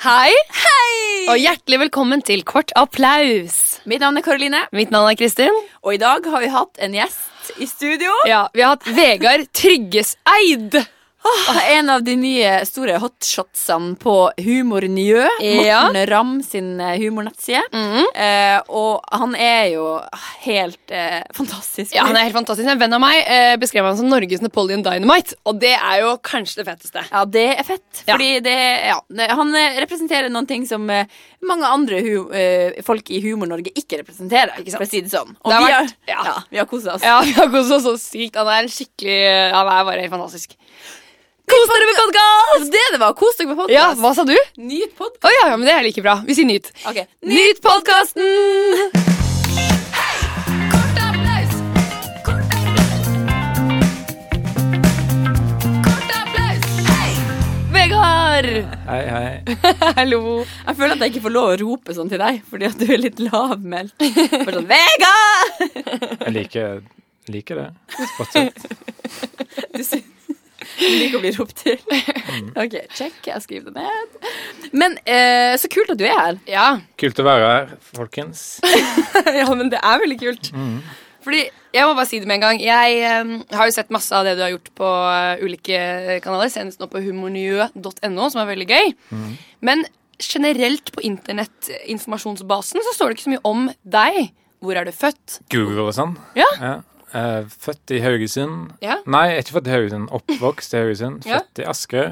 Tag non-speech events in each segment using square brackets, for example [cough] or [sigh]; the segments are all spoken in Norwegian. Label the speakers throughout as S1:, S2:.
S1: Hei,
S2: Hei!
S1: og hjertelig velkommen til Kort applaus.
S2: Mitt navn er Karoline,
S1: Mitt navn er Kristin.
S2: og i dag har vi hatt en gjest i studio.
S1: Ja, Vi har hatt Vegard Tryggeseid.
S2: En av de nye store hotshotsene på Humor Njø.
S1: Ja. Mm-hmm.
S2: Morten Ramm sin eh, humornettside. eh, og han er jo helt eh, fantastisk.
S1: Ja, Han er helt fantastisk. En venn av meg eh, beskrev han som Norges Napoleon Dynamite. Og det er jo kanskje det feteste.
S2: Ja, det er fett.
S1: Ja.
S2: Fordi det ja, Han eh, representerer noen ting som eh, mange andre hu eh, folk i Humor-Norge ikke representerer.
S1: Ikke sant?
S2: for å si det sånn. Og
S1: Det har
S2: vi,
S1: vært-
S2: har,
S1: ja.
S2: ja. vi har kosa oss.
S1: Ja, vi har kost oss så sykt. Han er en skikkelig Han er bare helt fantastisk. Kos dere med podkast!
S2: Det det var. Kos dere med podkast.
S1: Ja, hva sa du? Å
S2: Nyt podkast.
S1: ja, ja, men det er like bra. Vi sier nyt.
S2: Ok.
S1: Nyt podkasten! Vegard!
S3: Hei, hei.
S1: Hallo.
S2: Jeg føler at jeg ikke får lov å rope sånn til deg, fordi at du er litt lavmælt. Bare sånn Vega!
S3: Jeg liker, liker det. Fortsett.
S2: Du sy- du liker å bli ropt til. OK, check. Jeg skriver det ned. Men eh, så kult at du er her.
S1: Ja.
S3: Kult å være her, folkens.
S1: [laughs] ja, men det er veldig kult.
S3: Mm.
S1: Fordi, jeg må bare si det med en gang. Jeg eh, har jo sett masse av det du har gjort på eh, ulike kanaler, senest nå på humornjø.no, som er veldig gøy.
S3: Mm.
S1: Men generelt på internettinformasjonsbasen så står det ikke så mye om deg. Hvor er du født?
S3: Google og sånn.
S1: Ja.
S3: Eh, født i Haugesund.
S1: Ja.
S3: Nei, jeg er ikke født i Haugesund. Oppvokst i Haugesund.
S1: Ja.
S3: Født i Asker.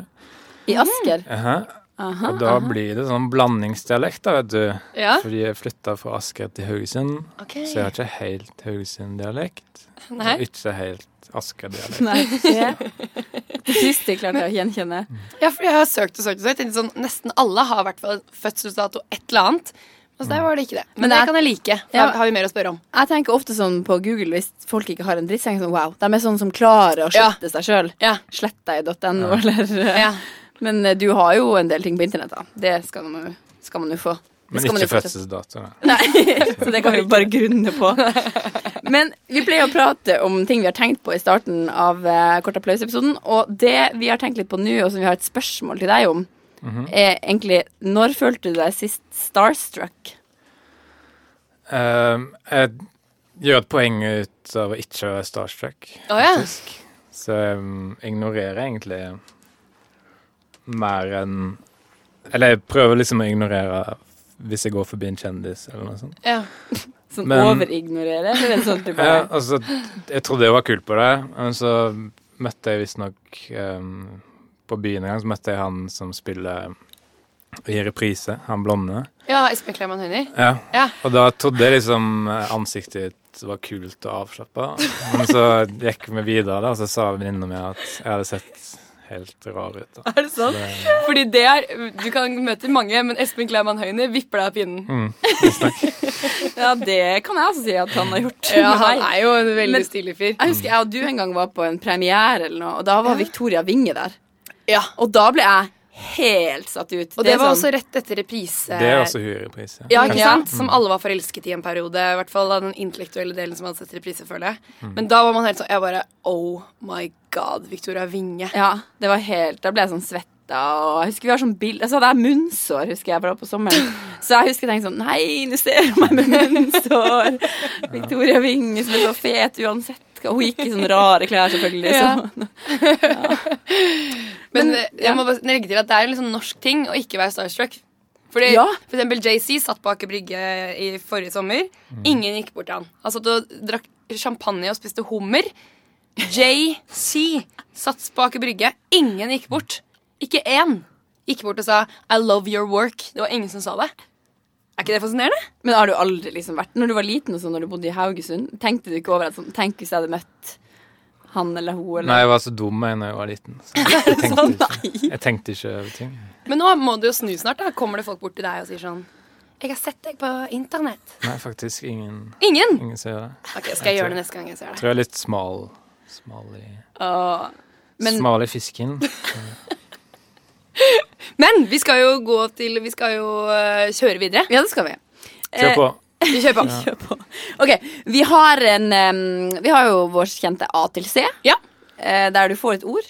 S2: I Asker.
S3: Aha. Og da blir det sånn blandingsdialekt, da, vet du.
S1: Ja.
S3: Fordi jeg flytta fra Asker til Haugesund,
S1: Ok.
S3: så jeg har ikke helt Haugesund-dialekt.
S1: Nei.
S3: Og ikke helt Asker-dialekt.
S2: Nei, det [laughs] det siste klarte jeg å gjenkjenne.
S1: Ja, for jeg har søkt og søkt og søkt. Jeg tenkte Sånn, nesten alle har i hvert fall fødselsdato et eller annet. Men
S3: Mm.
S1: der var det ikke det. Men, det
S2: Men det er-
S1: kan jeg like. for
S2: Ja.
S1: Da har vi mer å spørre om.
S2: Jeg tenker ofte sånn på Google hvis folk ikke har en dritt. så tenker jeg Sånn, wow, de er sånn som klarer å
S1: Ja.
S2: slette seg sjøl.
S1: Ja.
S2: Slett deg i .no, eller eh,
S1: Ja.
S2: Men eh, du har jo en del ting på internett, da. Det skal man jo- skal man jo få. Det
S3: Men
S2: skal man jo
S3: ikke
S2: fortsette-
S3: fødselsdato. da.
S2: Nei, [laughs] så det kan vi bare grunne på. Men vi pleier å prate om ting vi har tenkt på i starten av eh, Kort applaus-episoden. Og det vi har tenkt litt på nå, og som vi har et spørsmål til deg om,
S3: Mhm.
S2: er egentlig Når følte du deg sist starstruck?
S3: Ehm, jeg gjør et poeng ut av å ikke være starstruck,
S1: Å, ja.
S3: faktisk. Så jeg mm, ignorerer egentlig mer enn Eller jeg prøver liksom å ignorere hvis jeg går forbi en kjendis eller noe sånt.
S1: Ja.
S2: Sånn
S3: Men-
S2: overignorere? Eller en sånn type
S3: [laughs] Ja, altså, jeg trodde jeg var kul på det, men så møtte jeg visstnok um, På byen en gang så møtte jeg han som spiller i reprise, han blonde.
S1: ja, Espen Kleiman Høyner.
S3: Ja.
S1: Ja.
S3: Og da trodde jeg liksom eh, ansiktet ditt var kult og avslappa. Men så gikk vi videre, da, og så sa venninna mi at jeg hadde sett helt rar ut. Da.
S1: Er det sant?
S3: Det-
S1: Fordi det er, Du kan møte mange, men Espen Kleiman Høyne vipper deg av pinnen.
S3: Mm.
S2: Ja, det kan jeg også si at han har
S1: [laughs]
S2: gjort.
S1: Ja,
S2: Nei.
S1: Han er jo en veldig
S2: Men-
S1: stilig fyr.
S2: Jeg husker jeg og du en gang var på en premiere, eller noe, og da var
S1: Ja.
S2: Victoria Winge der.
S1: Ja,
S2: Og da ble jeg helt satt ut.
S1: Og det
S2: er
S1: var
S2: sånn-
S1: også rett etter reprise.
S3: Det er også Mm. hurrepris.
S1: ja, ikke
S2: Ja.
S1: sant? Som alle var forelsket i en periode. I hvert fall av den intellektuelle delen som hadde sett reprise, føler jeg.
S3: Mm.
S1: Men da var man helt sånn Jeg bare Oh my god, Victoria Winge.
S2: Ja, det var helt Da ble jeg sånn svetta, og jeg husker vi har sånn bild Så hadde jeg munnsår, husker jeg, bare på sommeren. Så jeg husker jeg tenkte sånn Nei, nå ser jeg meg med munnsår. Victoria Winge som er så fet uansett. hva- Hun gikk i sånne rare klær, selvfølgelig. Så.
S1: Men,
S2: Men, ja.
S1: jeg må bare legge til at det er en litt sånn norsk ting å ikke være starstruck. Fordi
S2: Ja.
S1: for eksempel JC satt på Aker Brygge i forrige sommer. Ingen gikk bort til han. Han satt og drakk champagne og spiste hummer. JC satt på Aker Brygge. Ingen gikk bort. Ikke én gikk bort og sa 'I love your work'. Det var ingen som sa det. Er ikke det fascinerende?
S2: Men har du aldri liksom vært Når du var liten og sånn, når du bodde i Haugesund, tenkte du ikke over at sånn Tenk hvis jeg hadde møtt han eller hun,
S3: Nei,
S2: eller
S3: jeg var så dum jeg da jeg var liten. Så jeg, tenkte
S2: Sånn,
S3: ikke,
S2: nei.
S3: jeg tenkte ikke over ting.
S1: Men nå må du jo snu snart. da Kommer det folk bort til deg og sier sånn 'Jeg har sett deg på internett'.
S3: Nei, faktisk. Ingen,
S1: Ingen!
S3: ingen ser det.
S1: Ok, Skal jeg gjøre det neste gang jeg ser deg?
S3: Tror jeg er litt smal. Smal i,
S2: Åh. Men-
S3: smal i fisken.
S1: Men vi skal jo gå til Vi skal jo eh, kjøre videre.
S2: Ja, det skal vi.
S3: Kjør på.
S2: Eh.
S1: Vi kjører på.
S2: Kjør på. OK. Vi har en em, Vi har jo vår kjente A til C.
S1: Ja.
S2: eh, der du får et ord,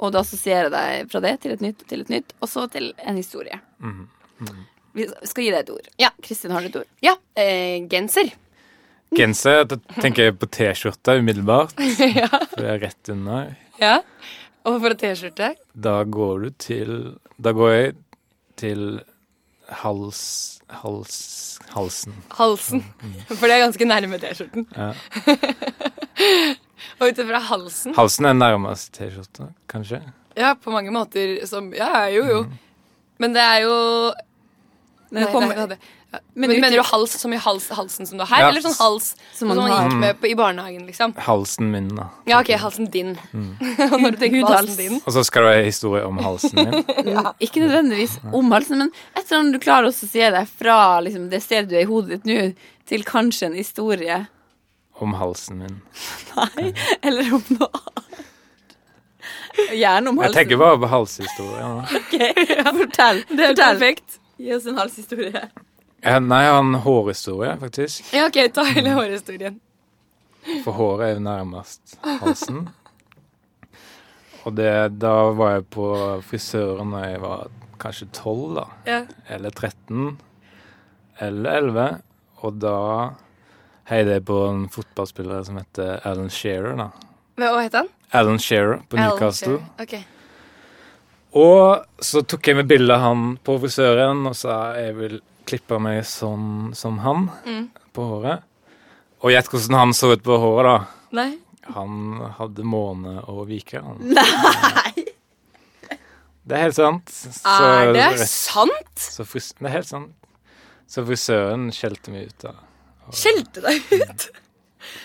S2: og du assosierer deg fra det til et nytt og til et nytt, og så til en historie.
S3: Mhm.
S2: Vi skal gi deg et ord.
S1: Ja.
S2: Kristin, har du et ord?
S1: Ja, eh, genser.
S3: Genser da tenker jeg på T-skjorte umiddelbart. For det er rett under.
S1: Ja. Og for en T-skjorte.
S3: Da går du til Da går jeg til hals... hals halsen.
S1: Halsen. For det er ganske nærme T-skjorten.
S3: Mm.
S1: [laughs]
S3: Ja.
S1: Og ut ifra halsen
S3: Halsen er nærmest T-skjorte, kanskje.
S1: Ja, på mange måter som Ja, jo, jo.
S3: Mm.
S1: Men det er jo Nei,
S2: det kommer-
S1: nei, det- ja.
S2: Men
S1: Men
S2: ut-
S1: mener du hals som i hals, halsen som du har?
S3: Ja.
S1: Eller sånn hals som
S2: Som
S1: man,
S2: man har.
S1: gikk med på, i barnehagen, liksom?
S3: Halsen min, da.
S1: Ja, OK, halsen din. Og når du tenker på
S2: Hudhals.
S1: halsen din
S3: Og så skal det være en historie om halsen min. [laughs]
S2: Ikke nødvendigvis om halsen, men et eller annet du klarer å assosiere deg fra liksom, det stedet du er i hodet ditt nå, til kanskje en historie. [laughs]
S3: Om halsen min.
S2: Nei, eller om noe annet. Gjerne om
S3: Jeg
S2: halsen.
S3: tenker bare på halshistorier. da.
S2: [laughs] Fortell.
S1: Det er
S2: Fortell.
S1: perfekt.
S2: Gi oss en halshistorie.
S3: Eh, Nei, jeg har en hårhistorie, faktisk.
S1: Ja, OK, ta hele hårhistorien.
S3: For håret er jo nærmest halsen. Og det, da var jeg på frisøren da jeg var kanskje 12, da.
S1: Ja.
S3: Eller 13. Eller 11. Og da heide jeg på en fotballspiller som heter Alan Shearer, da.
S1: Hva het han?
S3: Alan Shearer på
S1: Alan
S3: Newcastle.
S1: Shearer. Ok.
S3: Og så tok jeg med bildet av han på frisøren og sa jeg vil klippe meg sånn som han
S1: Mm.
S3: på håret. Og gjett hvordan han så ut på håret, da.
S1: Nei.
S3: Han hadde måne og viker, han. Nei! Det er helt sant. Så,
S1: Er det sant?
S3: Så fris, det er helt sant. Så frisøren skjelte meg ut da.
S1: Skjelte deg ut?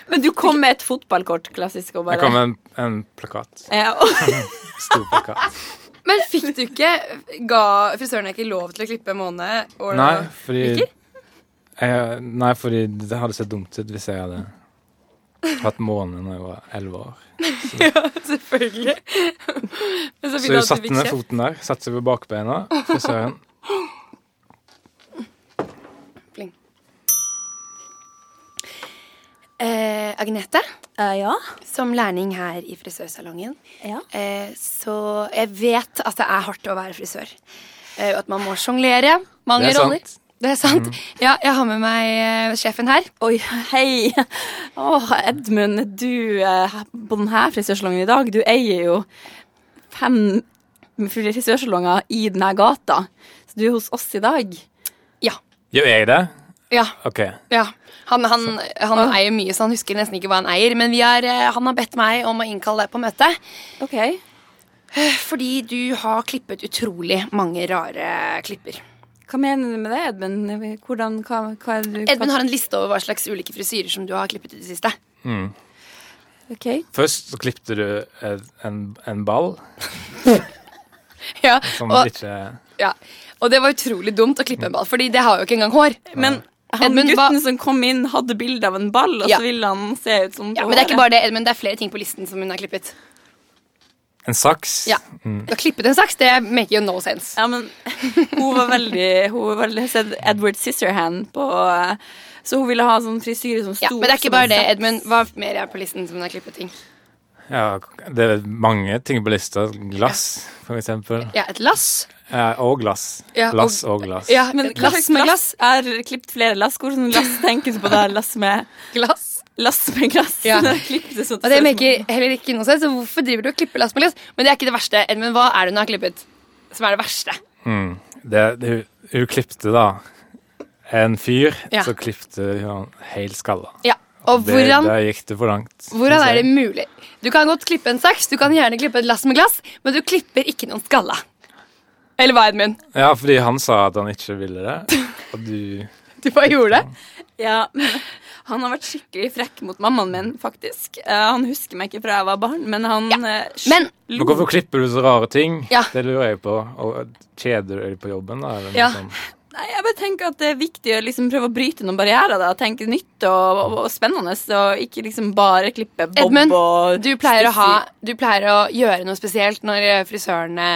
S2: Men du kom med et fotballkort, klassisk. Og bare...
S3: Jeg kom med en, en plakat.
S2: Ja, Eh, og- [laughs]
S3: Stor
S1: [laughs]
S3: plakat.
S1: [laughs] Men fikk du ikke Ga frisøren deg ikke lov til å klippe måne? og-
S3: Nei, fordi jeg, Nei, fordi det hadde sett dumt ut hvis jeg hadde hatt måne når jeg var elleve år.
S1: Selvfølgelig. [laughs] Men så
S3: Så
S1: fint
S3: hun
S1: at du
S3: satte
S1: fikk
S3: ned
S1: kjeft.
S3: foten der. Satte seg på bakbeina. Frisøren.
S1: Pling. Eh, Agnete,
S2: Eh, ja.
S1: som lærling her i frisørsalongen,
S2: ja.
S1: eh, så jeg vet at det er hardt å være frisør. Eh, og at man må sjonglere mange
S3: Det er
S1: roller.
S3: sant. Mm.
S1: Det er sant. Ja, jeg har med meg eh, sjefen her.
S2: Oi, hei. Åh, Edmund, du eh, på denne frisørsalongen i dag, du eier jo fem frisørsalonger i denne gata. Så du er hos oss i dag.
S1: Ja.
S3: Gjør jeg det?
S1: Ja.
S3: OK.
S1: ja. Han, han, han eier mye, så han husker nesten ikke hva han eier. Men vi har, eh, han har bedt meg om å innkalle deg på møte.
S2: Ok.
S1: Fordi du har klippet utrolig mange rare klipper.
S2: Hva mener du med det, Edmund? Hvordan, hva, hva er det du...
S1: Edmund har en liste over hva slags ulike frisyrer som du har klippet ut i det siste.
S2: Ok.
S3: Først så klippte du en, en, en ball
S1: Ja,
S3: som
S1: og,
S3: ikke
S1: ja. og det var utrolig dumt å klippe en ball, Fordi det har jo ikke engang hår.
S2: Men han
S1: Edmund,
S2: gutten
S1: hva-
S2: som kom inn hadde bilde av en ball, og
S1: Ja.
S2: så ville han se ut som...
S1: Ja, men det er ikke bare det, Edmund, det er flere ting på listen som hun har klippet.
S3: En saks.
S1: Ja, Du har klippet en saks, det make you no sense.
S2: Ja, men hun var veldig Hun var veldig jeg har sett Edward Scissorhand på eh, Så hun ville ha sånn frisyre som sto
S1: Ja, men det er
S2: opp som
S1: ikke bare
S2: en
S1: det,
S2: saks.
S1: Edmund. Hva mer er på listen som hun har klippet ting?
S3: Ja, det er mange ting på lista. Glass, for eksempel.
S1: Ja, et lass.
S3: Ja, og glass.
S1: Ja,
S3: Glass
S1: og-
S3: og glass.
S1: Ja,
S2: Men
S1: et
S2: glass med glass Jeg har klippet flere lass. Hvordan lass tenker du på da? Lass med
S1: glass.
S2: Lass med glass.
S1: Ja.
S2: Når [laughs] jeg klippet det sånn
S1: Og det maker heller ikke noe sense, så hvorfor driver du og klipper lass med glass? Men det er ikke det verste, Edmund. Hva er det hun har klippet som er det verste?
S3: Mm. Det, det, hun- hun klippte da en fyr,
S1: Ja.
S3: så klippte hun han helt skalla.
S1: Ja, og
S3: Det,
S1: hvordan...
S3: Der gikk det for langt.
S1: Hvordan
S3: synes
S1: er
S3: jeg.
S1: det mulig? Du kan godt klippe en saks, du kan gjerne klippe et lass med glass, men du klipper ikke noen skalla. Eller hva, Edmund?
S3: Ja, fordi han sa at han ikke ville det, og du
S1: Du bare gjorde det.
S2: Ja, men han har vært skikkelig frekk mot mammaen min, faktisk. Eh, han husker meg ikke fra jeg var barn, men han eh, sj-
S1: Men
S3: Men hvorfor klipper du så rare ting?
S1: Ja.
S3: Det lurer jeg på. Og kjeder du deg på jobben, da? Eller noe
S1: Ja.
S3: sånt?
S2: Nei, jeg bare tenker at det er viktig å liksom prøve å bryte noen barrierer. da Tenke nytt og, og, og spennende, og ikke liksom bare klippe bob
S1: Edmund,
S2: og
S1: du pleier, å ha,
S2: stussi.
S1: du pleier å gjøre noe spesielt når eh, frisørene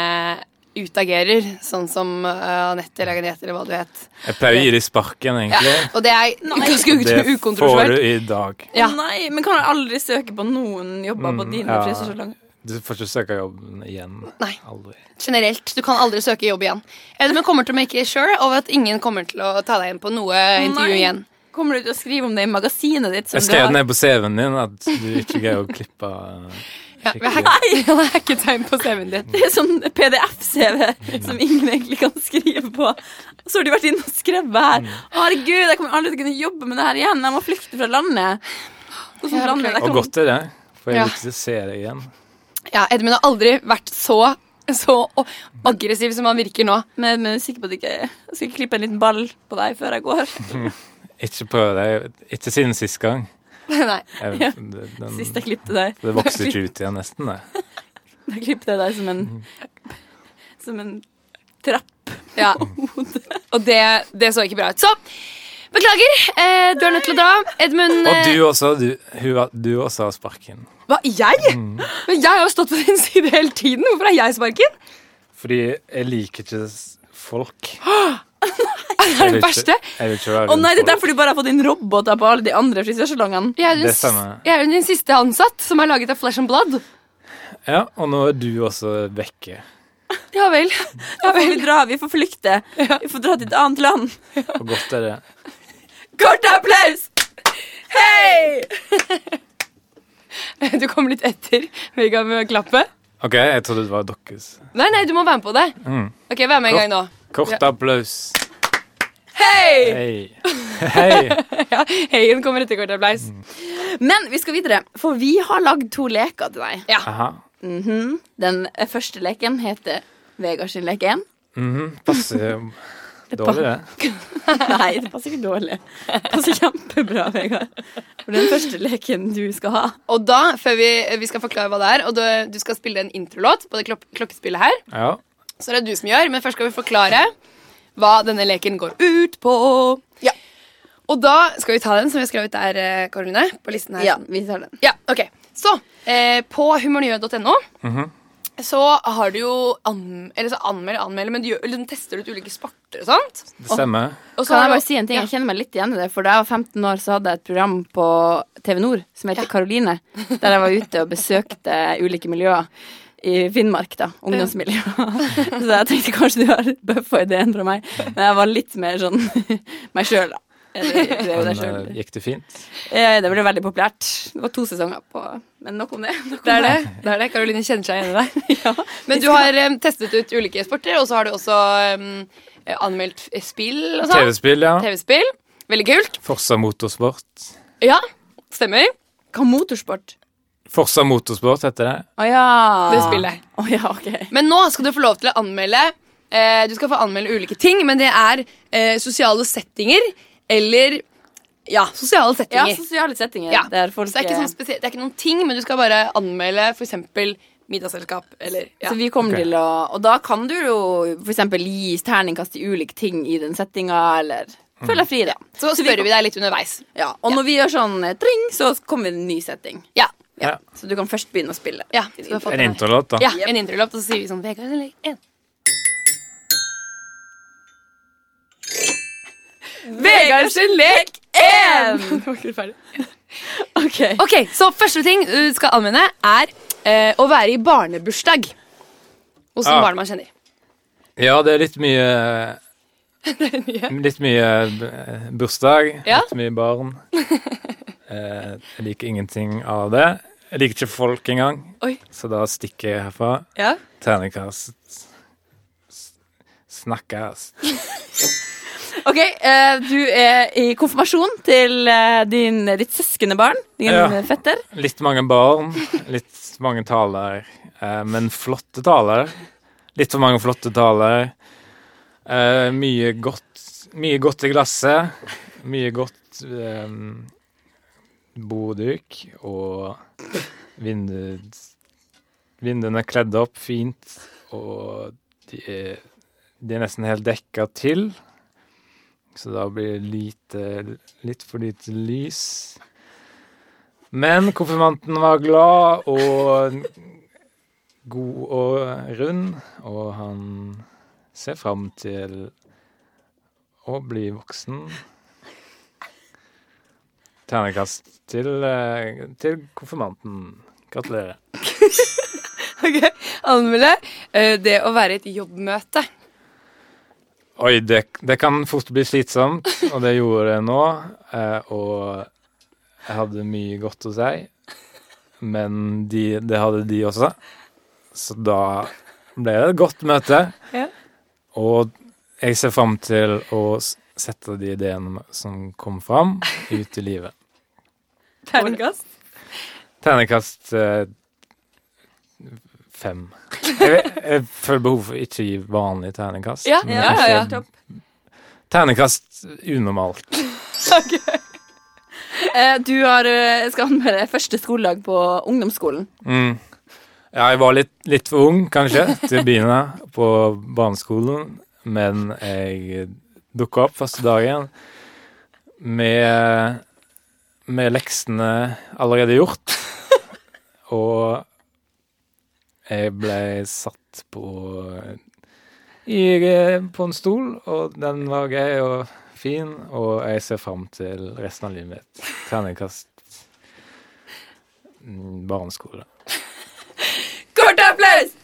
S1: utagerer, sånn som eh, Anette eller Agnete eller hva du het.
S3: Jeg pleier å gi deg sparken, egentlig.
S1: [laughs] Og det er ganske u-
S3: Det får du
S1: ukontroversielt.
S3: i dag.
S1: Ja.
S2: Å nei, men kan jeg aldri søke på noen jobber på
S3: Mm,
S2: dine
S3: ja.
S2: frisørsalonger?
S3: Du får ikke søke jobben igjen.
S1: Nei.
S3: Aldri.
S1: Generelt. Du kan aldri søke jobb igjen. Eller men kommer til å make it sure over at ingen kommer til å ta deg inn på noe intervju
S2: Nei.
S1: igjen.
S2: Kommer du til å skrive om det i magasinet ditt? som
S3: Jeg
S2: du
S3: skrev
S2: har?
S3: ned på CV-en din at du ikke greier å
S1: [laughs]
S3: klippe
S1: Ja,
S3: skikkelig.
S1: vi har [laughs] hacket, vi har hacket tegn på CV-en din.
S2: [laughs] Det er sånn PDF-CV som ingen egentlig kan skrive på. Og så har de vært inne og skrevet
S3: Mm.
S2: her. Herregud, jeg kommer aldri til å kunne jobbe med det her igjen. Jeg må flykte fra landet. Hvordan
S1: Ja, ok.
S2: landet? Jeg
S3: Og
S2: kan-
S3: godt er det, for jeg
S1: Ja.
S3: vil ikke se deg igjen.
S1: Ja, Edmund har aldri vært så, så o- aggressiv som han virker nå. [laughs]
S2: Men men jeg er sikker på at jeg ikke jeg skal ikke klippe en liten ball på deg før jeg går.
S3: Ikke prøv deg. Ikke siden sist gang.
S1: Nei.
S3: Jeg,
S2: Ja.
S3: det,
S2: Sist
S3: den,
S2: jeg klippte deg.
S3: det vokser ikke ut igjen, nesten. Det.
S2: Da klippte jeg deg som en Som en trapp.
S1: Ja, Og det, det så ikke bra ut. Så beklager, eh, du er nødt til å dra. Edmund
S3: Og
S1: eh,
S3: du også. Du, hun, har- du også har sparken.
S1: Hva, jeg? eh, Men jeg har jo stått på din [laughs] side hele tiden. Hvorfor har jeg sparken?
S3: Fordi jeg liker ikke s- folk.
S1: Det er det verste.
S3: Jeg vil ikke være
S2: Å nei, det er
S3: rundt folk.
S2: derfor du bare har fått inn roboter på alle de andre frisørsalongene.
S1: Jeg er, jo
S3: Det
S1: den,
S3: stemmer.
S1: s- jeg er jo den siste ansatt som er laget av flesh and blood.
S3: Ja, og nå er du også vekke.
S1: Ja vel.
S2: Da får vi dra, vi får flykte. Vi får dra til et annet land.
S3: Og godt er det.
S2: Kort applaus! Hei!
S1: Du kom litt etter. Vi kan klappe.
S3: OK, jeg trodde det var deres.
S1: Nei, nei, du må være med på det.
S3: Mm.
S1: Ok, Vær med en gang nå.
S3: Kort applaus.
S2: Hei!
S3: Hei. Hei.
S1: Ja, Heien kommer etter kort applaus.
S2: Men vi skal videre, for vi har lagd to leker til deg.
S3: Aha.
S2: Mhm. Den første leken heter Vegard sin lek 1.
S3: Mhm, Passer dårlig, det.
S2: Nei, det passer ikke dårlig. Det passer kjempebra, Vegard. For den første leken du skal ha.
S1: Og da, før vi, vi skal forklare hva det er, og du, du skal spille en introlåt på det klok klokkespillet her,
S3: Ja.
S1: så er det du som gjør, men først skal vi forklare hva denne leken går ut på.
S2: Ja.
S1: Og da skal vi ta den som vi har skrevet der, eh, Karoline, på listen her.
S2: Ja, vi tar den.
S1: Ja, ok. Så, eh, på humornye.no
S3: Mhm.
S1: så har du jo an, eller så anmeld, anmeld, men du gjør, eller, tester ut ulike sporter og sånt.
S3: Det stemmer.
S1: Og så
S2: Kan jeg
S1: har
S2: bare
S1: du-
S2: si en ting?
S1: Ja.
S2: Jeg kjenner meg litt igjen i det. For da jeg var 15 år, så hadde jeg et program på TV Nord som heter Karoline. Der jeg var ute og besøkte ulike miljøer i Finnmark, da. Ungdomsmiljøer. [laughs] Så jeg tenkte kanskje du har bøffa ideen fra meg. Men jeg var litt mer sånn [laughs] meg sjøl, da. Eller, du er jo
S3: Men
S2: deg selv.
S3: eh, gikk det fint?
S2: Eh, Det ble veldig populært. Det var to sesonger på Men nok om det. [laughs] Nok om
S1: Det er det. det er det. Karoline kjenner seg igjen i deg.
S2: det. [laughs] Ja.
S1: Men du har em, testet ut ulike sporter, og så har du også em, eh, anmeldt f- spill og sånn.
S3: TV-spill, ja.
S1: TV-spill. Veldig kult.
S3: Forsa motorsport.
S1: Ja, stemmer.
S2: Hva motorsport?
S3: Forsa motorsport heter det.
S2: Å ja.
S1: Det spillet.
S2: Å ja, ok.
S1: Men nå skal du få lov til å anmelde eh, Du skal få anmelde ulike ting, men det er eh, sosiale settinger eller Ja, sosiale
S2: Ja,
S1: settinger.
S2: sosiale settinger
S1: Ja.
S2: der folk
S1: så det er, ikke sånn spesielt, det er ikke noen ting, men du skal bare anmelde f.eks. middagsselskap eller ja.
S2: Så vi kommer
S3: Ok.
S2: til å Og da kan du jo f.eks. gi terningkast til ulike ting i den settinga, eller
S3: Mm.
S2: føl deg fri, da.
S1: Så spør vi deg litt underveis.
S2: Ja, og når vi gjør sånn eh, tring, så kommer det en ny setting.
S1: Ja.
S3: Ja.
S2: Så du kan først begynne å spille.
S1: ja så du har fått
S3: En
S1: den her.
S3: introlåt, da.
S1: Ja,
S2: Yep.
S1: en introlåt, og så sier vi sånn Vegard eller en. Vegards lek [laughs]
S2: én! OK.
S1: Ok, så første ting du skal anvende, er eh, å være i barnebursdag. Hos noen
S3: Ah.
S1: barn man kjenner.
S3: Ja, det er litt
S1: [laughs]
S3: mye Litt mye eh, bursdag,
S1: Ja.
S3: litt mye barn.
S1: [laughs]
S3: Eh, Jeg liker ingenting av det. Jeg liker ikke folk engang,
S1: Oi.
S3: så da stikker jeg herfra.
S1: Ja.
S3: Terningkast S- Snakkes.
S2: [laughs] Ok, eh, Du er i konfirmasjon til eh, din, ditt søskenbarn, din
S3: Ja.
S2: fetter.
S3: Litt mange barn, litt mange taler, eh, men flotte taler. Litt for mange flotte taler. Eh, mye godt Mye godt i glasset. Mye godt eh, bordduk og vindu, vinduene er kledd opp fint, og de er, de er nesten helt dekka til. Så da blir det lite, litt for lite lys. Men konfirmanten var glad og god og rund, og han ser fram til å bli voksen. Ternekast til, eh, til konfirmanten. Gratulerer.
S1: Ok, Anmelde eh, det å være i et jobbmøte.
S3: Oi, det, det kan fort bli slitsomt, og det gjorde jeg nå. eh, Og jeg hadde mye godt å si, men de, det hadde de også. Så da ble det et godt møte.
S1: Ja.
S3: Og jeg ser fram til å s- sette de ideene som kom fram, ut i livet.
S1: Terningkast.
S3: Ternekast eh, fem. Jeg, jeg føler behov for ikke å gi vanlig ternekast.
S1: Ja,
S3: men
S1: ja, ja, ja.
S3: kanskje Ternekast unormalt.
S2: Eh, du har, eh, skal anmelde første skoledag på ungdomsskolen.
S3: Mm. Ja, jeg var litt, litt for ung, kanskje, til å begynne på barneskolen, men jeg dukka opp første dagen med, med leksene allerede gjort. Og jeg ble satt på i, på en stol, og den var gøy og fin, og jeg ser fram til resten av livet mitt. Terningkast mm, barneskole.
S1: Kort applaus!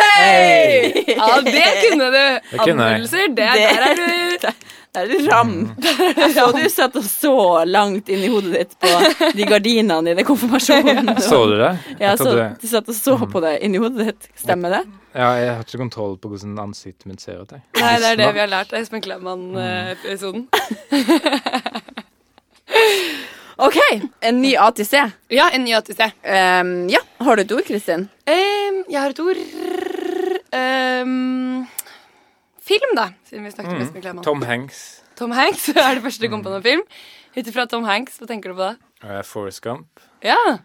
S1: Hei! [laughs] Ja, det kunne du.
S3: Det kunne jeg.
S1: Anmeldelser, det, er- der er du.
S2: [laughs] Der er det ram.
S3: Mm.
S2: [laughs] Og du satt og så langt inn i hodet ditt på de gardinene i den
S1: [laughs]
S2: konfirmasjonen.
S3: Så du det?
S2: Ja,
S3: Jeg
S2: så
S3: trodde- Mm.
S2: du satt og så på det inni hodet ditt. Stemmer det?
S3: ja, jeg har ikke kontroll på hvordan ansiktet mitt ser ut. Jeg.
S1: Nei, det er det vi har lært av Espen eh, Klemman-episoden.
S2: OK, en ny A til C.
S1: Ja, en ny ATC.
S2: Ehm, ja, har du et ord, Kristin?
S1: Ehm, jeg har et ord Ehm, Film, da, siden vi snakket om Espen Klemman. Tom.
S3: Mm. Tom Mm. Hanks.
S1: Hanks [laughs] er det første du kom på noen film. Ut ifra Tom Hanks, hva tenker du på da?
S3: Uh, Forest Gump.
S1: Ja,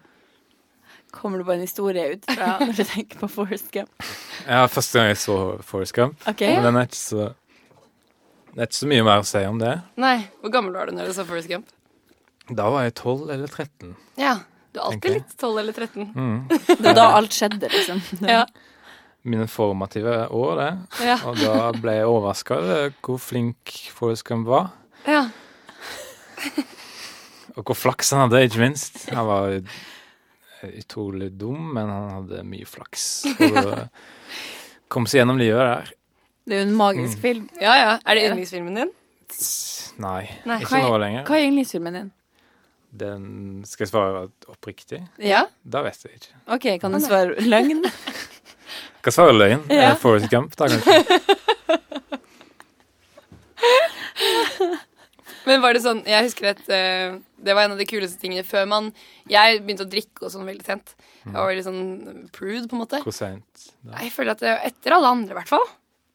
S2: Kommer det bare en historie ut
S1: [laughs]
S2: fra når du tenker på Forrest Gump?
S3: Ja, første gang jeg så Forest Gump.
S2: Ok.
S3: Men den er ikke så Det er ikke så mye mer å si om det.
S1: nei, Hvor gammel var du når du så Forrest Gump?
S3: Da var jeg 12 eller 13.
S1: Ja, Du er alltid
S3: Tenker jeg.
S1: litt 12 eller 13.
S3: Mm.
S2: Det var da alt skjedde, liksom.
S1: Ja,
S3: Mine formative år, det.
S1: ja,
S3: Og da ble jeg overraska over hvor flink Forest Gump var.
S1: ja.
S3: Og hvor flaks han hadde, ikke minst. Han var ut- utrolig dum, men han hadde mye flaks. Og kom seg gjennom livet der.
S2: Det er jo en
S3: Mm.
S2: magisk film.
S1: ja, ja. Er det yndlingsfilmen din?
S3: Nei,
S1: Nei,
S3: ikke nå lenger.
S2: Hva er yndlingsfilmen din?
S3: Den skal jeg svare oppriktig?
S1: Ja.
S3: Da vet jeg ikke.
S2: OK, kan du svare løgn?
S3: Jeg Skal svare løgn?
S2: Ja.
S3: Ja. Forest Gump, da
S2: [laughs]
S3: kanskje.
S1: Men var det sånn, jeg husker at eh, det var en av de kuleste tingene før man Jeg begynte å drikke og sånn veldig sent. Jeg var
S3: Mm.
S1: veldig sånn prude, på en måte.
S3: Hvor sent? da?
S1: Jeg føler at det var etter alle andre, i hvert fall.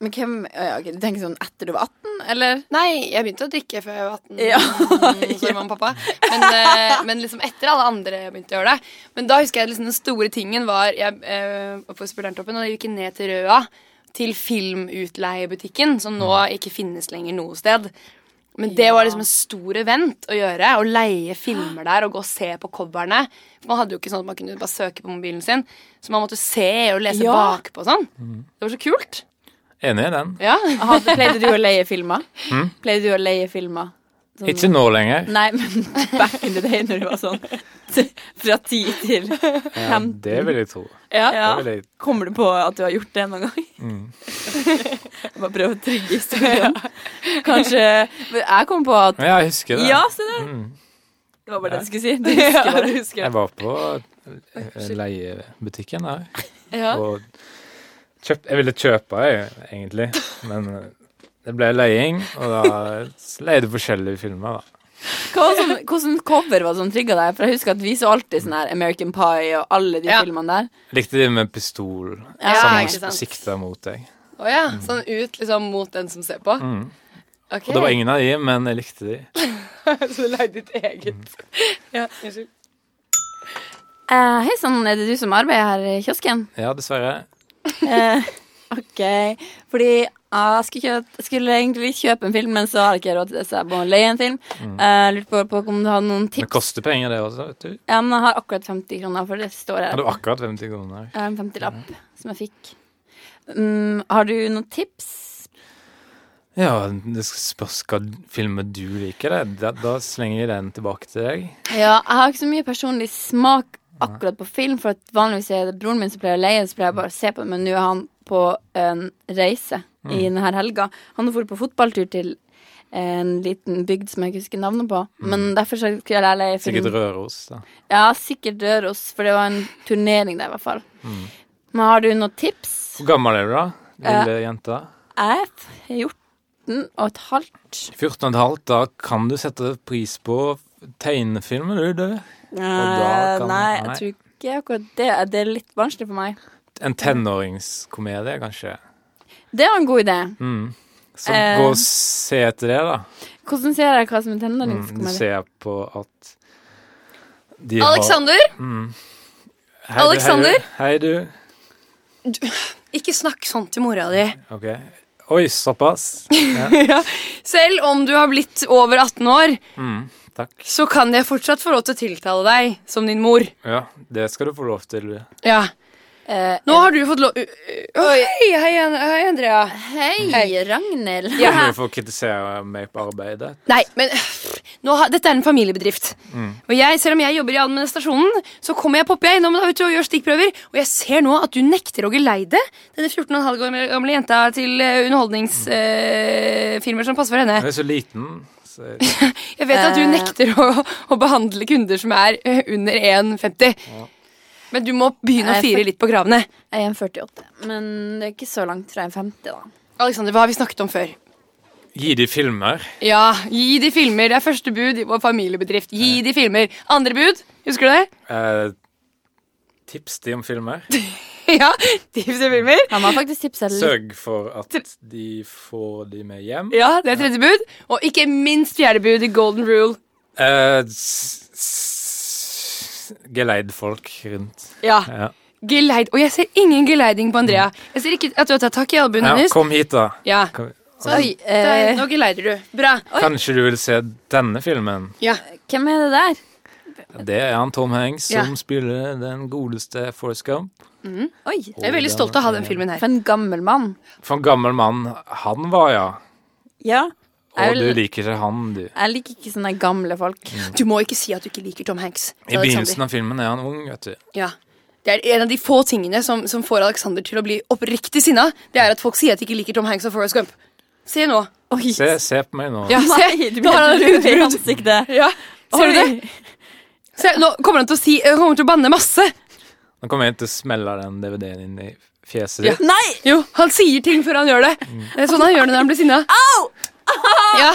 S2: Men hvem ja, ok, Du tenker sånn etter du var 18, eller?
S1: Nei, jeg begynte å drikke før jeg var 18.
S2: Ja. [laughs]
S1: Mm, Sorry, mamma og pappa. Men, eh, men liksom etter alle andre begynte å gjøre det. Men da husker jeg liksom den store tingen var Jeg eh, var på Spillerntoppen, og da gikk jeg ned til Røa. Til filmutleiebutikken, som nå ikke finnes lenger noe sted. Men det var liksom en stor event å gjøre. Å leie filmer der og gå og se på coverne. For Man hadde jo ikke sånn at man kunne bare søke på mobilen sin. Så man måtte se og lese
S2: Ja.
S1: bakpå og sånn. Det var så kult.
S3: Enig i den.
S1: Ja.
S2: Hadde, pleide du å leie filmer? Pleide du å leie filmer? Sånn-
S3: Hm? Ikke nå lenger.
S2: Nei, men back in the day når du var sånn [laughs] t- fra 10 til
S3: Ja,
S2: 15.
S3: det vil jeg tro. Det
S2: Ja.
S3: vil jeg...
S2: Kommer du på at du har gjort det noen gang?
S3: Mm.
S2: [laughs] Bare prøve å trygge historien. Kanskje men Jeg kom på at
S3: Men jeg husker det.
S2: Ja, se der!
S3: Mm.
S2: Det var bare det jeg skulle si. Du husker bare.
S3: Jeg var på eh, leiebutikken der
S1: Ja.
S3: og kjøpt, Jeg ville kjøpe, jeg, egentlig, men eh, det ble leiing, og da leide jeg forskjellige filmer, da.
S2: Hva var sånn, hvordan cover var det som trigga deg? For jeg husker at vi så alltid sånn her American Pie og alle de
S1: Ja.
S2: filmene der.
S3: Likte de med pistol
S1: Ja,
S2: sånn
S1: ikke
S3: som
S1: sant.
S3: sikta mot deg.
S1: Å ja, sånn ut liksom mot den som ser på?
S3: Mm.
S1: Ok,
S3: Og det var ingen av de, men jeg likte de.
S1: Så du lagde ditt eget. Ja, unnskyld.
S2: Eh, Hei sann, er det du som arbeider her i kiosken?
S3: Ja, dessverre.
S2: Eh, ok, fordi ah, jeg skulle, kjøpe, jeg skulle egentlig kjøpe en film, men så har jeg ikke råd til det, så jeg må leie en film. Eh, lurte på, på om du hadde noen
S3: Det
S2: tips.
S3: koster penger, det også. vet du.
S2: Ja, men jeg har akkurat 50 kroner, for det står
S3: Ja,
S2: her.
S3: det var akkurat 50 kroner.
S2: Jeg har en 50-lapp som jeg fikk. Mm, har du noen tips?
S3: Ja, det spørs hva filmer du liker. Det. Da, da slenger jeg den tilbake til deg.
S2: Ja, jeg har ikke så mye personlig smak akkurat på film, for at vanligvis er det broren min som pleier å leie, så pleier jeg bare å se på det, men nå er han på en reise i
S3: Mm.
S2: denne helga. Han har dratt på fotballtur til en liten bygd som jeg ikke husker navnet på. Men derfor så skulle jeg leie film.
S3: Mm. Sikkert Røros. da.
S2: Ja, sikkert Røros, for det var en turnering der, i hvert fall.
S3: Mm.
S2: Men har du noen tips?
S3: Hvor gammel er du, da? Lille jenta?
S2: Jeg er 14 og et halvt.
S3: 14,5. Da kan du sette pris på tegnefilmer, du, du. da kan-
S2: Eh, nei, jeg
S3: nei.
S2: tror ikke akkurat det. Det er litt vanskelig for meg.
S3: En tenåringskomedie, kanskje.
S2: Det var en god idé.
S3: Mm. Så
S2: Eh.
S3: gå og se etter det, da.
S2: Hvordan ser jeg hva som er
S3: Mm, du
S2: tenåringskomedie?
S3: ser på at de har- Mm.
S1: Alexander,
S3: Hei, du, hei, du.
S1: Alexander?
S3: Hei, du.
S1: ikke snakk sånn til mora di.
S3: Ok. Oi, såpass.
S1: Selv om du har blitt over 18 år,
S3: Mm, takk.
S1: så kan jeg fortsatt få lov til å tiltale deg som din mor.
S3: Ja, det skal du få lov til.
S1: Ja.
S2: Eh,
S1: Nå har du fått lov Hei, hei, An- hei, Andrea.
S2: hei, Ragnhild.
S1: Ja.
S3: Kan du få kritisere meg på arbeidet?
S1: Nei, men nå har, dette er en familiebedrift. Og jeg, selv om jeg jobber i administrasjonen, så kommer jeg popper jeg innom da, vet du, og gjør stikkprøver. Og jeg ser nå at du nekter Roger Leide, denne 14 15 år gamle- gamle jenta til underholdningsfilmer som passer for henne.
S3: Jeg er så liten. Så
S1: Jeg vet at du
S2: Eh.
S1: nekter å, å behandle kunder som er eh, under 1,50. Men du må begynne å
S2: Jeg
S1: fire
S2: får-
S1: litt på kravene.
S2: [laughs] Jeg er en 48, men det er ikke så langt fra en 50, da.
S1: Alexander, hva har vi snakket om før?
S3: gi de filmer.
S1: Ja, gi de filmer. Det er første bud i vår familiebedrift. Gi de filmer. Andre bud, husker du det? [laughs]
S3: Eh, tips de om filmer.
S1: ja, tips til filmer.
S2: Han har faktisk tipsa litt.
S3: Sørg for at de får de med hjem.
S1: Ja, det er tredje bud. Og ikke minst fjerde bud i Golden Rule.
S3: Eh, s- s- Geleid folk rundt.
S1: Ja,
S3: Ja.
S1: geleid. Og jeg ser ingen geleiding på Andrea. Jeg ser ikke at du har tatt tak i albuen
S3: ja,
S1: hennes.
S3: kom hit, da.
S1: Ja,
S3: Kom-
S2: Oi,
S1: Der,
S2: eh,
S1: Nå geleider du. Bra.
S3: Kanskje du vil se denne filmen?
S1: Ja.
S2: hvem er det der?
S3: Det er han Tom Hanks som
S1: Ja.
S3: spiller den godeste Forrest Gump.
S2: Oi,
S1: Jeg er veldig stolt av å ha den filmen her.
S2: for en gammel mann.
S3: For en gammel mann han var, ja.
S2: Ja.
S3: Og
S2: Jeg,
S3: du
S2: vil,
S3: liker ikke han, du.
S2: jeg liker ikke sånne gamle folk.
S3: Mm.
S1: Du må ikke si at du ikke liker Tom Hanks.
S3: I begynnelsen av filmen er han ung, vet du.
S1: Ja. Det er en av de få tingene som, som får Alexander til å bli oppriktig sinna. Det er at folk sier at de ikke liker Tom Hanks og Forrest Gump. Se nå.
S2: [laughs] Oi,
S3: Se, se på meg nå.
S1: Ja, se.
S2: Nei, du
S1: Nå har han
S2: blir rød i
S1: utbrudd.
S2: ansiktet.
S1: Ja. Ser du det?
S2: Oi.
S1: Se, nå kommer han til å si Han kommer til å banne masse.
S3: Nå kommer jeg til å smelle den DVD-en inn i fjeset
S1: Ja.
S3: ditt.
S2: Nei!
S1: Jo, han sier ting før han gjør det. Det er sånn han gjør det når han blir sinna. [laughs] Ja.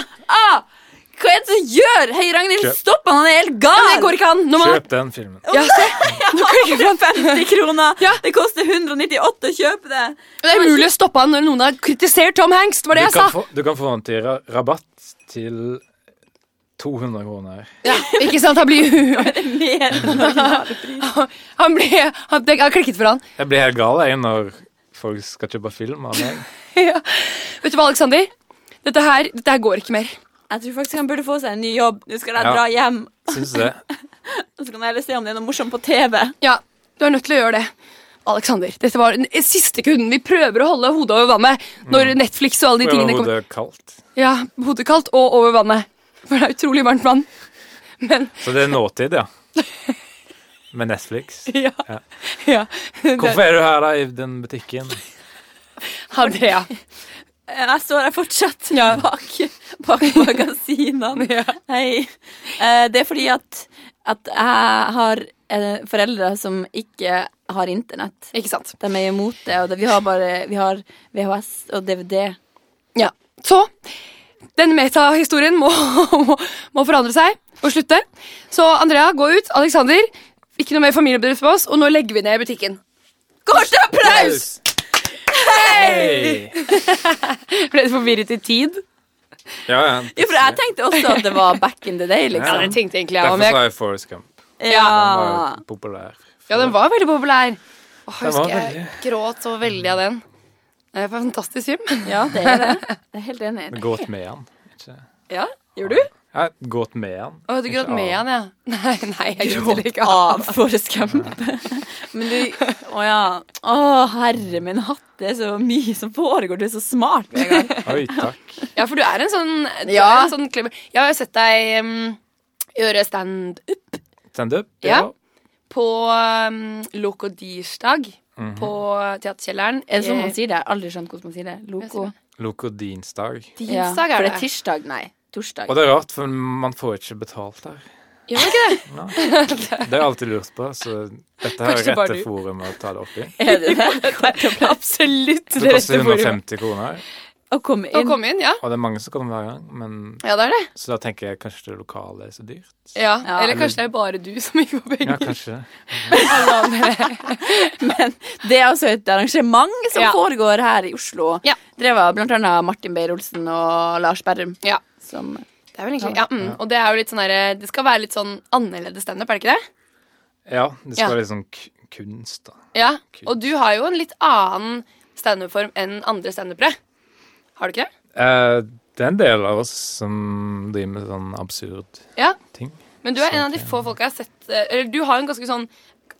S2: Hva er det du gjør? Hei, Ragnhild,
S3: Kjøp.
S2: stopp han, han er helt
S1: Men
S2: gal!
S1: det går ikke an. Når man,
S3: Kjøp den filmen.
S1: ja, se.
S2: Nå klikker han 50 kroner.
S1: Ja.
S2: Det koster 198 å kjøpe det.
S1: Det er umulig å stoppe han når noen har kritisert Tom Hanks. Det var
S3: Du
S1: det jeg
S3: kan,
S1: sa.
S3: få, du kan få den til ra- rabatt til 200 kroner.
S1: Ja, ikke sant? Han blir
S2: Mer enn
S1: Han ble Han det har klikket for han.
S3: Jeg blir helt gal jeg når folk skal kjøpe film av meg.
S1: Ja. Vet du hva, Alexander? Dette her, dette her går ikke mer.
S2: Jeg tror faktisk han burde få seg en ny jobb. Nå skal jeg
S3: Ja.
S2: dra hjem.
S1: [laughs]
S3: Syns du det?
S2: Og så kan jeg heller se om det er noe morsomt på TV.
S1: Ja, du er nødt til å gjøre det. Alexander, dette var den siste kunden. Vi prøver å holde hodet over vannet når Netflix og alle de
S3: Får jeg
S1: tingene kommer.
S3: Mm. hodet kaldt?
S1: Ja, hodet kaldt og over vannet. For det er utrolig varmt vann. [laughs] Men
S3: Så det er nåtid,
S1: [laughs]
S3: ja. Med Netflix.
S1: ja.
S3: Ja.
S1: ja.
S3: Hvorfor er du her, da, i den butikken?
S1: Andrea.
S2: Eh, Jeg står her fortsatt
S1: Ja.
S2: [laughs] bak, bak magasinene.
S1: Ja.
S2: Hei. Eh, Det er fordi at, at jeg har eh, foreldre som ikke har internett.
S1: Ikke sant.
S2: De er imot det. Og det, vi har bare vi har VHS og DVD.
S1: Ja. Så denne metahistorien må, [laughs] må, må forandre seg og slutte. Så Andrea, gå ut. Alexander, ikke noe mer familiebedrift på oss. Og nå legger vi ned butikken. Kort applaus!
S3: Hei!
S1: Ble du forvirret i tid?
S3: Ja, ja.
S2: Jo, for jeg tenkte også at det var back in the day,
S1: Ja,
S2: liksom.
S1: det tenkte egentlig jeg
S3: Derfor
S1: om. Jeg- Ah.
S3: sa jeg Forrest Gump. Den var
S2: Ja.
S3: jo populær.
S1: Ja, den var veldig populær. Åh, jeg
S3: Den var
S1: husker jeg gråt så veldig av den. Det er en fantastisk
S2: [laughs]
S1: film.
S2: ja, det er det. Jeg er helt enig.
S3: Men Gått med han. Ikke?
S1: Ja, Gjorde du?
S3: Jeg har gått med
S1: [laughs]
S3: han.
S1: Å, du gråt
S3: Ikke
S1: med han,
S3: av.
S1: ja. Nei, nei, jeg gråt
S2: Gråt
S1: ikke
S2: av
S1: av.
S2: Forrest Gump. Men du Å ja. Å, herre min hatt, det er så mye som foregår. Du er så smart. Vegard.
S3: Oi, takk.
S1: Ja, for du er en sånn, du
S2: Ja.
S1: er en sånn mm, clever Jeg har jo sett deg um, gjøre standup
S3: Stand up?
S1: Ja. på um, Lokodirsdag på Teaterkjelleren. Eh,
S2: Er det sånn man sier det? Jeg har aldri skjønt hvordan man sier det. Loco.
S1: Jeg
S3: Lokodinsdag.
S2: Ja,
S1: Dirsdag
S2: for
S1: er
S2: det
S1: det.
S2: er tirsdag, nei. Torsdag.
S3: Og det er rart, for man får ikke betalt der.
S1: Gjør man ikke det?
S3: [laughs]
S1: [laughs]
S3: Nei. Det har jeg alltid lurt på, så dette her
S1: Kanskje
S3: er
S1: bare du.
S3: rette forum å ta det opp
S1: [laughs]
S3: i.
S2: [laughs] Er det det?
S1: Absolutt
S3: Det koster
S1: forumet.
S3: 150 kroner,
S2: Å komme
S1: Å
S2: inn.
S1: komme inn, ja.
S3: og det er mange som kommer hver gang, men
S1: Ja, det er det.
S3: så da tenker jeg kanskje det lokale er så
S1: [laughs]
S3: dyrt.
S1: Ja.
S2: Ja.
S1: Eller kanskje det er bare du som ikke får
S3: Ja,
S1: penger.
S3: kanskje det.
S2: Det er altså et arrangement som
S1: Ja.
S2: foregår her i Oslo.
S1: Ja.
S2: Drevet av blant annet Martin Beyer-Olsen og Lars Berrum.
S1: Ja.
S2: Som
S1: Det er vel egentlig, ja, mm. Og det er jo litt sånn derre Det skal være litt sånn annerledes standup, er det ikke det?
S3: Ja, det
S1: Ja.
S3: skal være litt sånn k- kunst, da.
S1: Ja.
S3: Kult.
S1: Og du har jo en litt annen standup-form enn andre standupere. Har du ikke det?
S3: Eh, det er en del av oss som driver med sånn absurd
S1: Ja.
S3: ting.
S1: Men du er en av de få folka jeg har sett eh, Eller du har jo en ganske sånn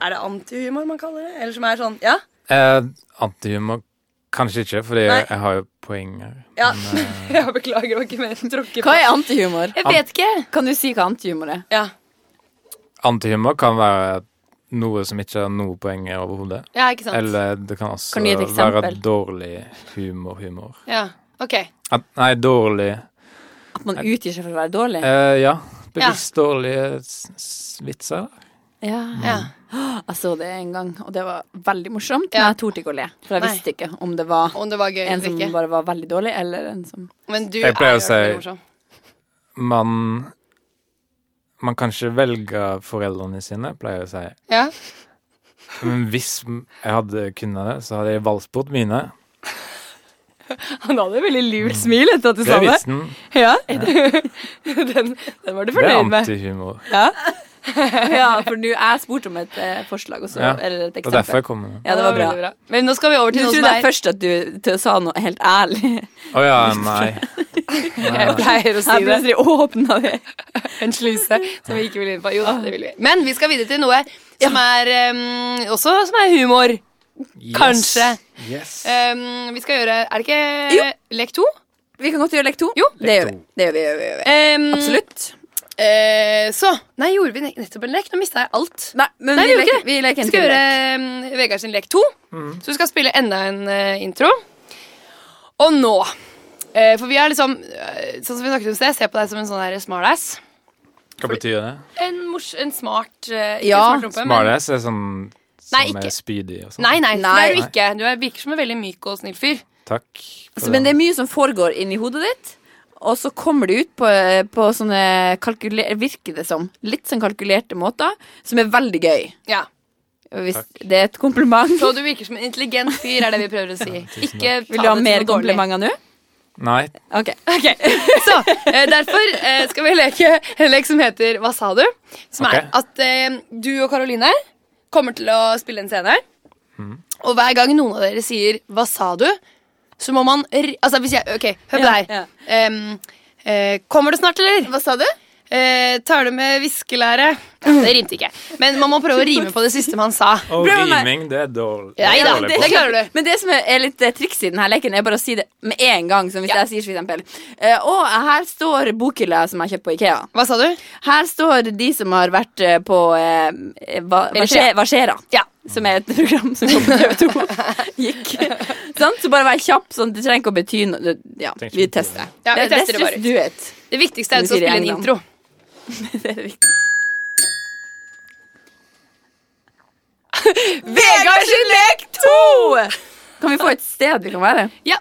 S1: Er det antihumor man kaller det? Eller som er sånn Ja.
S3: Eh, Antihumor kanskje ikke, fordi
S1: Nei.
S3: jeg, jeg har jo poenger.
S1: ja.
S3: Men,
S1: [laughs]
S3: eh,
S1: jeg beklager, det var ikke meningen å tråkke
S2: Hva
S1: på.
S2: er antihumor?
S1: Jeg vet ikke.
S2: Kan du si hva antihumor er?
S1: Ja.
S3: antihumor kan være noe som ikke har noe poenger overhodet.
S1: ja, ikke sant.
S3: Eller det kan også
S2: Kan du gi et eksempel?
S3: være dårlig humor-humor.
S1: Ja. OK.
S3: At- Nei, dårlig
S2: At man utgir seg for å være dårlig?
S3: eh, Ja, bevisst dårlige s- s- vitser.
S2: Ja.
S1: Ja.
S3: Mm.
S2: Jeg så det en gang, og det var veldig morsomt.
S1: Ja.
S2: Men jeg torde ikke å le, for jeg
S1: Nei.
S2: visste ikke om det var
S1: Om det var gøy
S2: en
S1: eller
S2: som
S1: ikke.
S2: bare var veldig dårlig, eller en som
S1: Men du
S3: Jeg pleier
S1: er
S3: å
S1: jo
S3: si-
S1: veldig morsom.
S3: Man Man kan ikke velge foreldrene sine, pleier jeg å si.
S1: Ja.
S3: Men hvis m- jeg hadde kunnet det, så hadde jeg valgt bort mine.
S1: [laughs] Han hadde veldig lurt smil etter at du
S3: Mm. Det er vitsen.
S1: Ja. [laughs] den, den var du
S3: Det er
S1: fornøyd [laughs] med.
S3: antihumor.
S2: Ja, ja for nå jeg spurte om et eh, forslag også,
S3: Ja.
S2: eller et
S3: Det er
S2: eksempel.
S3: derfor jeg kom med det.
S2: Ja, det var bra.
S1: veldig Men nå skal vi over
S2: Du
S1: til noe
S2: trodde
S1: som
S2: jeg
S1: er
S2: først at du t- sa noe helt ærlig.
S3: Å ja, nei.
S1: Jeg pleier å si
S2: [laughs] Jeg
S1: det.
S2: plutselig åpna det.
S1: En sluse som vi ikke vil inn på. Jo da, det vil vi. Men vi skal videre til noe som er em, også som er humor.
S3: Yes.
S1: Kanskje. Eh,
S3: Yes.
S1: Em, vi skal gjøre Er det ikke
S2: Jo.
S1: lek to?
S2: Vi kan godt gjøre lek to.
S1: Jo.
S2: det gjør vi. Det gjør vi, gjør vi, gjør vi.
S1: Em,
S2: Absolutt.
S1: eh, så Nei, gjorde vi ne- nettopp en lek? Nå mista jeg alt.
S2: Nei, men
S1: Nei,
S2: vi,
S1: vi gjør ikke
S2: leker,
S1: det.
S2: vi leker
S1: Vi
S2: en
S1: skal
S2: til.
S1: gjøre em, Vegard sin lek to.
S2: Mm.
S1: Så vi skal spille enda en eh, intro. Og nå eh, For vi er liksom eh, Sånn som vi snakket om i sted, jeg ser på deg som en sånn her smartass.
S3: Hva betyr det?
S1: En, mors, en smart eh, Ikke
S2: Ja,
S1: smart rumpe, men
S3: Smartass er sånn som
S1: Nei,
S3: er
S1: ikke.
S3: spydig og sånn.
S1: Nei, nei, det
S2: Nei.
S1: er du ikke. Du er, virker som en veldig myk og snill fyr.
S3: Takk. for
S2: Så, Altså, men det er mye som foregår inni hodet ditt, og så kommer det ut på, på sånne kalkuler, virker det som, litt sånn kalkulerte måter, som er veldig gøy.
S1: Ja.
S2: Hvis det er et kompliment.
S1: Så du virker som en intelligent fyr, er det vi prøver å si.
S3: tusen
S1: Ikke ta
S2: Vil du ha
S1: det som
S2: mer
S1: noe dårlig.
S2: komplimenter nå?
S3: Nei,
S2: Ok.
S1: Ok, så eh, Derfor eh, skal vi leke en lek som heter Hva sa du? Som er
S3: Ok.
S1: at eh, du og Karoline kommer til å spille en scene.
S3: Mhm.
S1: Og hver gang noen av dere sier 'hva sa du', så må man r Altså hvis jeg Ok, hør på
S2: Ja,
S1: deg.
S2: ja.
S1: Em, eh, kommer du snart, eller?
S2: Hva sa du?
S1: Eh, tar du med viskelære? Ja, det rimte ikke. Men man må prøve å rime på det siste man sa.
S3: og
S2: Prøv meg.
S3: riming, det er dårlig.
S1: Nei da,
S3: dårlig på.
S1: det klarer du.
S2: Men det som er- er litt eh, triks i denne leken, er bare å si det med en gang. Som hvis
S1: Ja.
S2: jeg sier for eksempel eh, Å, her står bokhylla som jeg kjøpte på Ikea.
S1: Hva sa du?
S2: Her står de som har vært eh, på eh, hva, hva, skje, hva skjer'a?
S1: Ja.
S2: Som er et program som kom på [laughs] TV2. Gikk. Sant? Så bare vær kjapp. Sånn, det trenger ikke å bety noe. Det- Ja, vi
S3: Trenger ikke å bety
S2: tester.
S1: Ja, vi tester det bare
S2: let's just
S1: ut.
S2: do it.
S1: Det viktigste er
S2: Som
S1: å
S2: de sier i
S1: spille en
S2: England.
S1: intro.
S2: [laughs] Det er riktig.
S1: Vegard sin lek
S2: To! Kan vi få et sted vi kan være?
S1: Ja.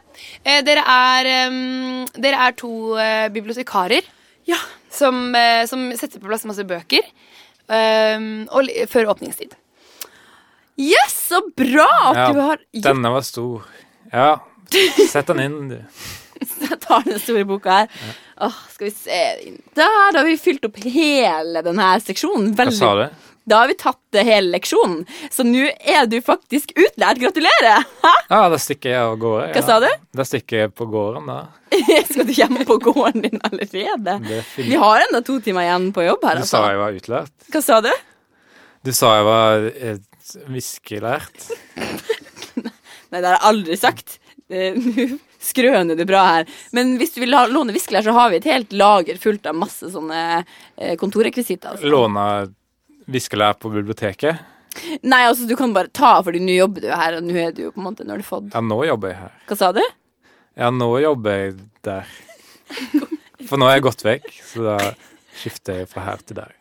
S1: Eh, dere, er, em, dere er to eh, bibliotekarer
S2: Ja.
S1: som, eh, som setter på plass masse bøker em, og, li- før [laughs] åpningstid.
S2: Yes, så bra at du har gjort
S3: Denne var stor. Ja. Sett den inn, du.
S2: Jeg tar den store boka her. Åh, skal vi se inn Der, da har vi fylt opp hele denne seksjonen.
S3: Hva
S2: Veldig.
S3: sa du?
S2: Da har vi tatt det hele leksjonen. Så nå er du faktisk utlært. Gratulerer! Hæ?
S3: Ja, da stikker jeg av gårde. Ja.
S2: Hva sa du?
S3: Da stikker jeg på gården, da.
S2: Skal du hjem på gården din allerede?
S3: Det er fint.
S2: Vi har enda to timer igjen på jobb her.
S3: Mm. Du sa
S2: Altså.
S3: jeg var utlært.
S2: Hva sa du?
S3: Du sa jeg var eh, viskelært.
S2: Nei, det har jeg aldri sagt. Eh, [laughs] Nå skrøner du bra her. Men hvis du vil ha, låne viskelær, så har vi et helt lager fullt av masse sånne eh, kontorrekvisitter. Altså.
S3: Låna viskelær på biblioteket.
S2: Nei, altså, du kan bare ta, fordi nå jobber du jo her, og nå er du jo på en måte Nå har du fått
S3: Ja, nå jobber jeg her.
S2: Hva sa du? [laughs]
S3: Ja, nå jobber jeg der. For nå har jeg gått vekk, så da skifter jeg fra her til der.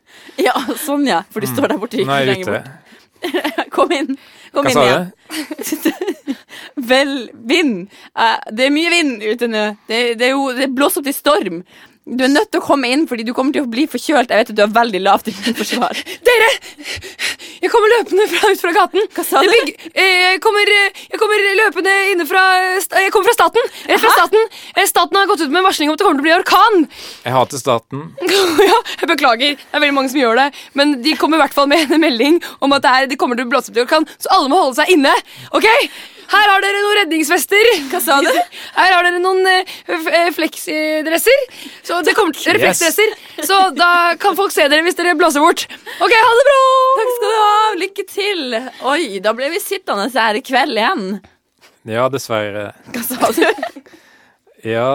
S2: Ja, sånn, ja. For du står der borte. ikke
S3: Mm. Nå er jeg
S2: lenger
S3: ute.
S2: bort. [laughs] Kom inn. Kom
S3: Hva
S2: inn
S3: sa
S2: igjen.
S3: du?
S2: Vel, vind. Eh, det er mye vind ute nå. Det, det, er jo, det blåser opp til storm. Du er nødt til å komme inn, fordi du kommer til å bli forkjølt. Jeg vet at du har veldig lavt immunforsvar.
S1: Dere! Jeg kommer løpende fra, ut fra gaten.
S2: Hva sa
S1: Det
S2: du?
S1: blir- eh, jeg, kommer, eh, jeg kommer løpende inne fra st- Jeg kommer fra staten. Rett fra staten. Eh, Staten har gått ut med en varsling om at det kommer til å bli orkan.
S3: Jeg hater staten.
S1: [laughs] ja, jeg beklager. Det er veldig mange som gjør det. Men de kommer i hvert fall med en melding om at det, her, det kommer til å blåse opp til orkan, så alle må holde seg inne. Ok? Her har dere noen redningsvester. Hva sa du? Her har dere noen eh, f- eh, flexidresser. Så det kommer til
S3: Yes.
S1: refleksdresser. Så da kan folk se dere hvis dere blåser bort. Ok, ha det bra!
S2: Takk skal du ha. Lykke til. Oi, da ble vi sittende her i kveld igjen.
S3: Ja, dessverre.
S2: Hva sa du?
S3: Ja,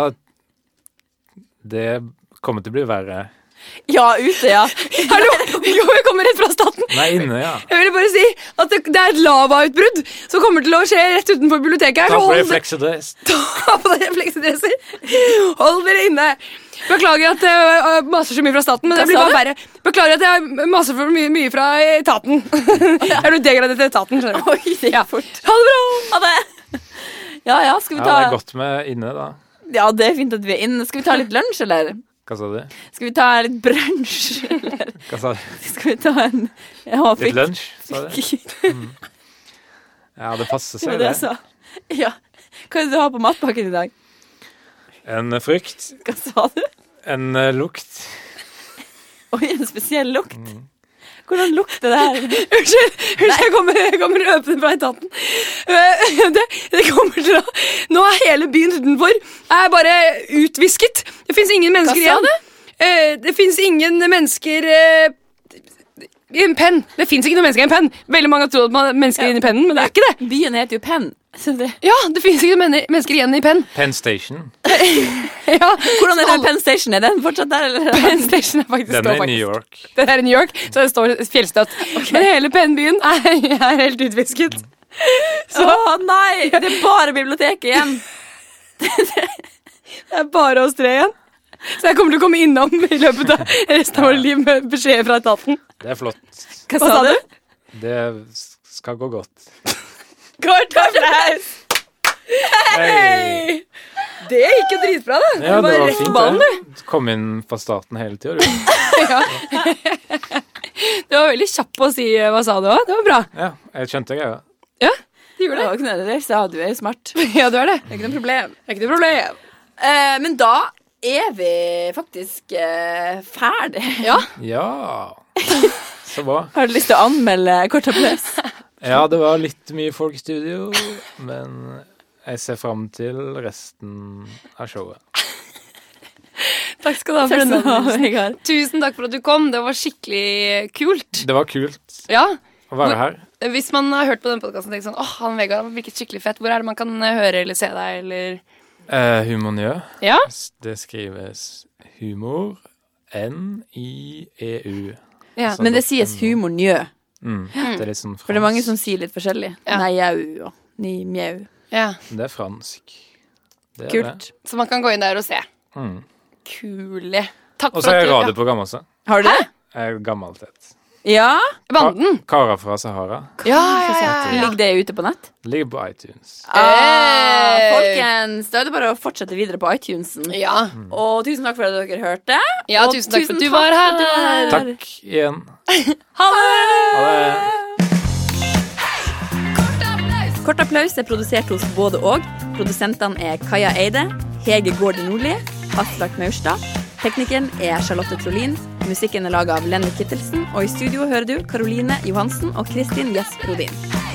S3: det kommer til å bli verre.
S2: [laughs] Ja, ute, ja.
S1: Hallo! Jo, jeg kommer rett fra staten.
S3: Nei, inne, ja.
S1: Jeg ville bare si at det, det er et lavautbrudd som kommer til å skje rett utenfor biblioteket. her,
S3: Ta
S1: så
S3: på
S1: hold-
S3: deg fleksedress.
S1: Ta på deg refleksdresser. Hold dere inne. Beklager at jeg maser så mye fra staten, men
S2: Hva
S1: det blir
S2: sa
S1: bare
S2: du?
S1: verre. Beklager at jeg maser for mye, mye fra etaten. Jeg er noe degradert til etaten. skjønner du.
S2: Oi, det gikk fort.
S1: Ha det bra!
S2: Ha det. Ja, ja, skal vi
S3: Ja,
S2: ta
S3: det er godt med inne, da.
S2: Ja, det er fint at vi er inne. Skal vi ta litt lunsj, eller?
S3: Hva sa du?
S2: Skal vi ta litt brunsj, [laughs] eller?
S3: Hva sa du?
S2: Skal vi ta en Jeg har
S3: Litt
S2: fikk
S3: lunsj, sa du? Ja, det passer
S2: Det
S3: seg,
S2: var det jeg
S3: det.
S2: sa. Ja. Hva er det du har på matpakken i dag?
S3: En frukt,
S2: Hva sa du?
S3: en eh, lukt.
S2: Oi, en spesiell lukt. Hvordan lukter det her?
S1: Mm. [laughs] Unnskyld, unnskyld jeg kommer, jeg kommer løpende fra etaten. Eh, Det, det kommer til å Nå er hele byen utenfor er bare utvisket. Det fins ingen mennesker
S2: sa
S1: igjen. Eh, Det fins ingen mennesker eh, i en penn. Det fins ikke noen mennesker i en penn. Veldig mange har trodd at man er mennesker
S2: Ja.
S1: inni pennen, men det er ikke det.
S2: Byen heter jo Penn. Så det,
S1: Ja, det finnes ikke menne- mennesker igjen i Penn.
S3: Penn Station.
S1: Ja,
S2: hvordan er det
S1: Alle-
S2: Penn Station? Er den fortsatt der, eller?
S1: Penn Station er faktisk
S3: Den
S1: nå,
S3: er i
S1: faktisk.
S3: New York.
S1: [laughs] Den er i New York, så det står fjellstøtt. Men hele Penn-byen er, er helt utvisket.
S2: Å nei! Det er bare biblioteket igjen.
S1: Det er bare oss tre igjen. Så jeg kommer til å komme innom i løpet av resten av vårt liv med beskjed fra etaten.
S3: Det er flott.
S2: Hva sa du?
S3: Det s- skal gå godt.
S1: [laughs] Kort applaus!
S3: Hei!
S1: Det gikk jo dritbra, da.
S3: Ja,
S1: Du
S3: det
S1: var
S3: var
S1: rett på
S3: fint,
S1: ballen,
S3: det. Du kom inn fra staten hele tida, du.
S1: Ja. Du var veldig kjapp på å si eh, hva sa du òg. Det var bra.
S3: Ja, jeg skjønte greia.
S1: Ja, du
S2: Det
S1: gjorde det.
S2: var ikke noe det sa du er jo smart.
S1: [laughs] Ja, du er det.
S2: Det er ikke noe problem.
S1: Det er ikke noe problem.
S2: Eh, men da er vi faktisk eh, ferdig.
S1: Ja.
S3: Ja. Så bra.
S2: Har du lyst til å anmelde kort applaus? [laughs]
S3: Ja, det var litt mye folk i studio, men jeg ser fram til resten av showet.
S1: Takk skal du ha for
S2: Takk
S1: denne
S2: skal du ha,
S1: anmeldelsen.
S2: Vegard.
S1: Tusen takk for at du kom. Det var skikkelig kult.
S3: Det var kult
S1: Ja,
S3: å være her.
S1: Hvis man har hørt på den podkasten og tenkt sånn åh, han Vegard han virket skikkelig fett, hvor er det man kan eh, høre eller se deg, eller
S3: Eh, humornjø.
S1: Ja.
S3: Det skrives humor. N-i-e-u.
S1: ja.
S2: Men det
S3: Sånn
S2: sies humor njø,
S3: Mm. Det er litt sånn fransk.
S2: Hmm. for det er mange som sier litt forskjellig.
S1: Ja.
S2: Nei, jau og ni, mjau.
S1: ja.
S3: Det er fransk. Det er
S2: Kult.
S1: Så man kan gå inn der og se.
S3: det. Mm.
S1: Kule. Takk
S3: Og så er
S1: for
S3: jeg
S1: at du
S3: radioprogram også.
S2: Har du det?
S3: Jeg er gammelt et.
S2: Ja?
S1: ja. Banden.
S3: Karer fra Sahara.
S1: Ja, ja, ja. ja.
S2: Ligger det ute på nett?
S3: Ligger på iTunes.
S2: Ah,
S1: Eh.
S2: Eh, folkens, da er det bare å fortsette videre på iTunesen.
S1: Ja,
S3: Mm.
S2: Og tusen takk for at dere hørte.
S1: ja
S2: Og
S1: tusen takk for at du
S2: tusen
S1: var
S2: takk for at du
S1: her.
S2: var
S3: Takk igjen.
S2: Ha det!
S3: Ha det.
S2: Kort applaus er produsert hos både og. Produsentene er Kaja Eide, Hege Gård Nordli, Aslak Maurstad. Teknikeren er Charlotte Trolin. Musikken er laga av Lenny Kittelsen. Og i studio hører du Karoline Johansen og Kristin Gjess Rodin.